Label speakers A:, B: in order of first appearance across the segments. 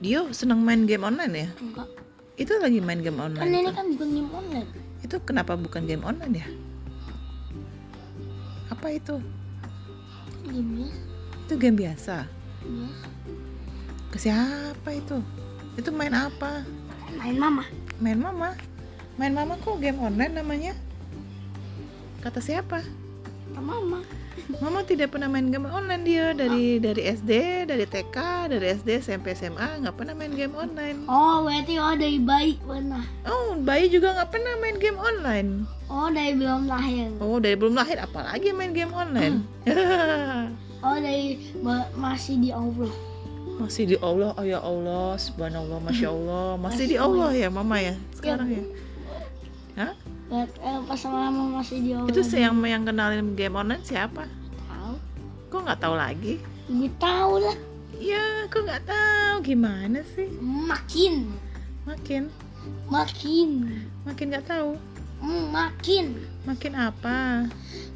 A: Dio seneng main game online ya?
B: enggak
A: Itu lagi main game
B: kan ini
A: online. tuh.
B: kan bukan game online
A: Itu kenapa bukan game online ya? Apa itu?
B: game biasa
A: Itu game biasa.
B: biasa
A: Ke siapa itu? Itu main apa?
B: main mama
A: Main mama. Main mama kok game online namanya? Kata siapa?
B: ke mama
A: Mama tidak pernah main game online dia dari dari SD, dari TK, dari SD, SMP, SMA nggak pernah main game online.
B: oh berarti oh dari bayi pernah
A: Oh, bayi juga nggak pernah main game online.
B: oh dari belum lahir
A: Oh, dari belum lahir apalagi main game online.
B: oh dari ba- masih di Allah
A: masih di Allah, oh ya Allah, subhanallah, masya Allah, masih di Allah ya, Mama ya, sekarang ya. Hah?
B: Ber- eh, pas mama masih di Allah
A: Itu sih yang yang kenalin game online siapa?
B: tahu
A: Kok nggak tahu lagi?
B: ibu tahu lah
A: Ya, kok nggak tahu gimana sih?
B: makin
A: Makin,
B: makin
A: makin nggak tahu.
B: Hmm, makin
A: Makin apa?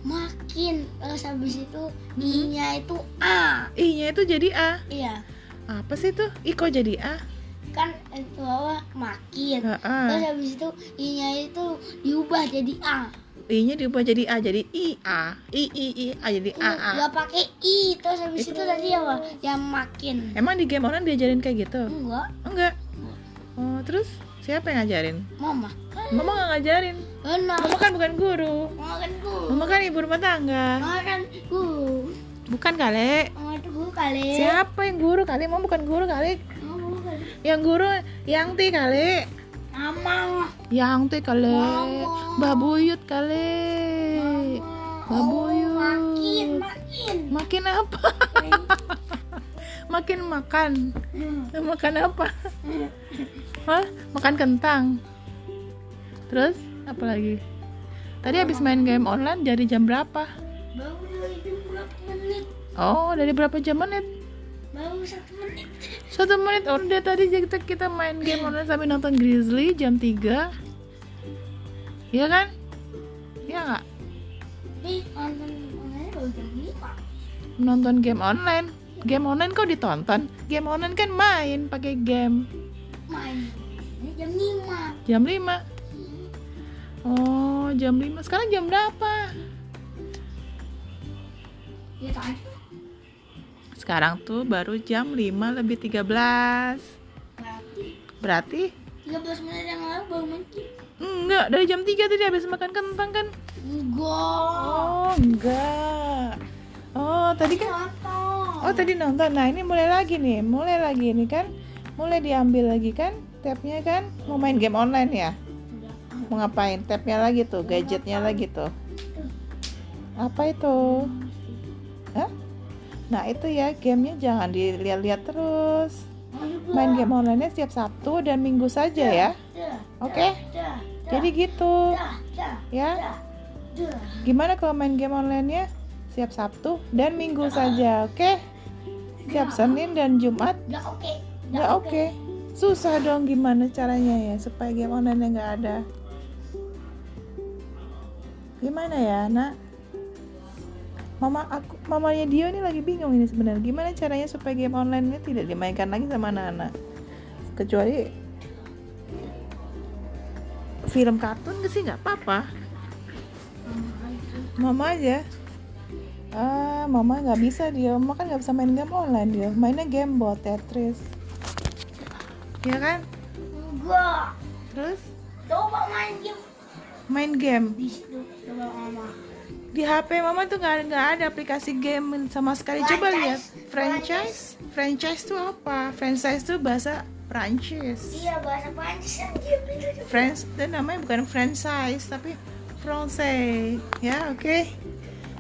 B: makin terus habis itu i-nya itu a
A: I-nya itu jadi A.
B: iya
A: Apa sih tuh? I kok jadi A?
B: kan itu apa makin terus
A: Heeh.
B: habis itu i-nya itu diubah jadi a
A: I-nya diubah jadi A, jadi I A. I I I A jadi A A.
B: nggak pakai i terus habis itu
A: Itu.
B: tadi apa yang makin
A: Emang di game online diajarin kayak gitu?
B: enggak
A: Enggak. Oh, terus siapa yang ngajarin?
B: mama
A: Mama nggak ngajarin.
B: benar
A: Mama kan bukan guru.
B: mama kan guru
A: Mama kan ibu rumah tangga.
B: mama kan guru
A: Bukan kali.
B: mama itu guru kali
A: Siapa yang guru kali? Mama bukan guru kali.
B: mama guru kali
A: Yang guru yang ti kali.
B: mama
A: Yang ti kali.
B: Mama.
A: Babuyut kali. Babuyut.
B: Oh, makin makin
A: Makin apa? Makin makan.
B: Hmm.
A: Makan apa? Hah? Makan kentang. Terus apa lagi? Tadi habis main game online dari jam berapa?
B: baru itu berapa menit
A: Oh, dari berapa jam menit?
B: baru satu menit
A: Satu menit. Oh, dari tadi kita, kita main game online sampai nonton Grizzly jam 3. Iya kan? Iya nggak?
B: nih nonton online baru jam lima
A: Nonton game online. Game online kok ditonton? Game online kan main pakai game.
B: main ini jam lima
A: Jam 5. Oh, jam 5. Sekarang jam berapa?
B: ya tadi
A: Sekarang tuh baru jam 5 lebih 13.
B: berarti
A: Berarti
B: tiga belas menit yang lalu baru mancing
A: enggak dari jam 3 tadi habis makan kentang kan?
B: enggak
A: Oh, enggak. Oh, tadi kan
B: nonton
A: Oh tadi nonton, nah ini mulai lagi nih, mulai lagi ini kan, mulai diambil lagi kan, tabnya kan, mau main game online ya,
B: Enggak.
A: mau ngapain? Tabnya lagi tuh, gadgetnya lagi tuh. Apa itu? Hah? Nah itu ya gamenya jangan dilihat-lihat terus. Oh, Main game online-nya setiap Sabtu dan Minggu
B: Iya.
A: saja ya,
B: Dah,
A: oke?
B: dah, dah,
A: Jadi gitu,
B: dah, dah,
A: ya.
B: dah, dah.
A: Gimana kalau main game online-nya? Setiap Sabtu dan Minggu saja, oke? Setiap Senin dan Jumat
B: Dah oke dah
A: Nggak oke. Susah dong gimana caranya ya supaya game online nggak ada. Gimana ya, Nak? Mama aku mamanya Dio ini lagi bingung ini sebenarnya. Gimana caranya supaya game online ini tidak dimainkan lagi sama anak-anak? Kecuali film kartun ke sih nggak apa-apa. Mama aja. Ah, mama nggak bisa dia. Mama kan nggak bisa main game online dia. Mainnya game bot Tetris. Iya kan?
B: enggak
A: Terus
B: coba main game
A: main game
B: di situ coba mama
A: di HP mama tuh nggak nggak ada aplikasi game sama sekali. Coba
B: Franchise.
A: lihat franchise. Franchise tuh apa? Franchise tuh bahasa Prancis.
B: iya bahasa Prancis yang game itu
A: French dan namanya bukan franchise tapi Francais ya oke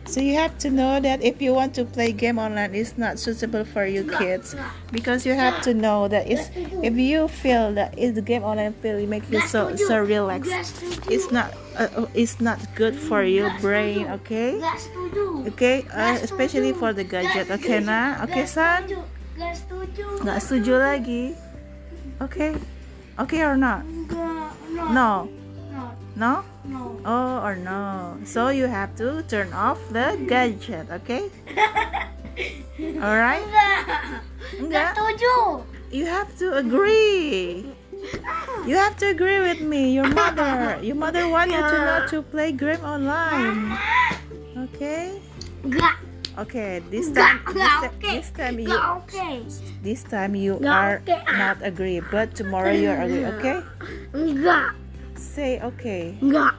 A: so you have to know that if you want to play game online it's not suitable for you kids because you have to know that it's if you feel that if the game online feel it make you so so relaxed
B: Gak setuju.
A: it's not uh, uh, it's not good for your
B: Nggak
A: brain
B: setuju.
A: okay
B: Nggak setuju.
A: okay uh,
B: Nggak
A: especially
B: setuju.
A: for the
B: Nggak
A: gadget
B: setuju.
A: okay nah okay
B: Nggak
A: son
B: setuju. Nggak setuju.
A: nggak setuju lagi okay okay or not
B: Nggak, no,
A: no
B: no,
A: no
B: no.
A: Oh or no. So you have to turn off the gadget, okay? Alright?
B: Nggak. Nggak
A: Enggak.
B: setuju.
A: You have to agree. You have to agree with me. Your mother. Your mother want you to not to play game online. Okay?
B: Gak.
A: Okay, this
B: Gak.
A: time
B: Gak
A: this, ti-
B: oke.
A: this time you
B: Gak oke.
A: this time you
B: Gak
A: are
B: oke, ah.
A: not agree, but tomorrow you are agree, okay?
B: Enggak.
A: Say okay.
B: Enggak.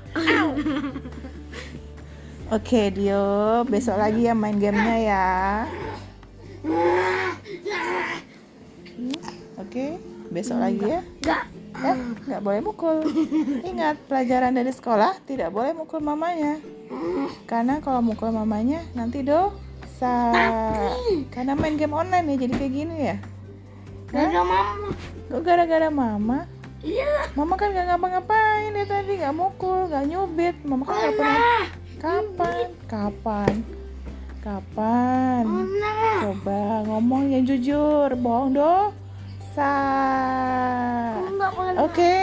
A: Oke, Dio, besok lagi ya main gamenya ya. Oke, besok lagi ya.
B: Enggak.
A: Eh, nggak boleh mukul. Ingat, pelajaran dari sekolah tidak boleh mukul mamanya. Karena kalau mukul mamanya nanti dosa. Karena main game online ya jadi kayak gini ya.
B: Gak ada mama.
A: Kok gara-gara mama?
B: Iya.
A: Mama kan nggak ngapa-ngapain ya tadi, nggak mukul, nggak nyubit. Mama kan nggak pernah.
B: Nah.
A: Kapan? Kapan? Kapan?
B: Nah.
A: Coba ngomong yang jujur, bohong dosa.
B: Enggak pernah.
A: Oke,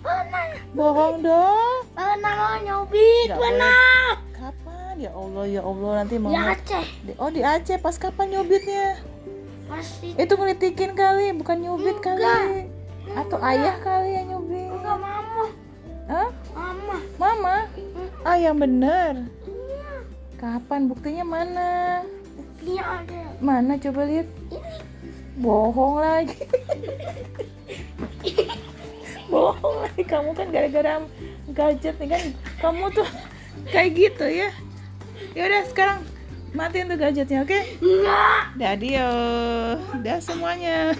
B: Pernah.
A: bohong dosa.
B: Pernah mau oh, nyobit.
A: Nggak
B: Pernah.
A: Kapan? Ya Allah, ya Allah nanti mau.
B: Ya Aceh.
A: Di- Oh di Aceh pas kapan nyubitnya?
B: Pasti.
A: Itu ngelitikin kali, bukan nyubit
B: Enggak.
A: kali. Atau ayah kali yang nyubit.
B: Enggak mama.
A: Hah?
B: Mama.
A: Mama?
B: Hmm.
A: Ah yang bener.
B: Iya.
A: Kapan buktinya mana?
B: Buktinya ada.
A: Mana coba lihat?
B: Ini.
A: Bohong lagi. Bohong lagi kamu kan gara-gara gadget nih kan kamu tuh kayak gitu ya. Ya udah sekarang
B: Iya.
A: matiin tuh gadgetnya, oke?
B: Enggak.
A: Dadio, dah semuanya.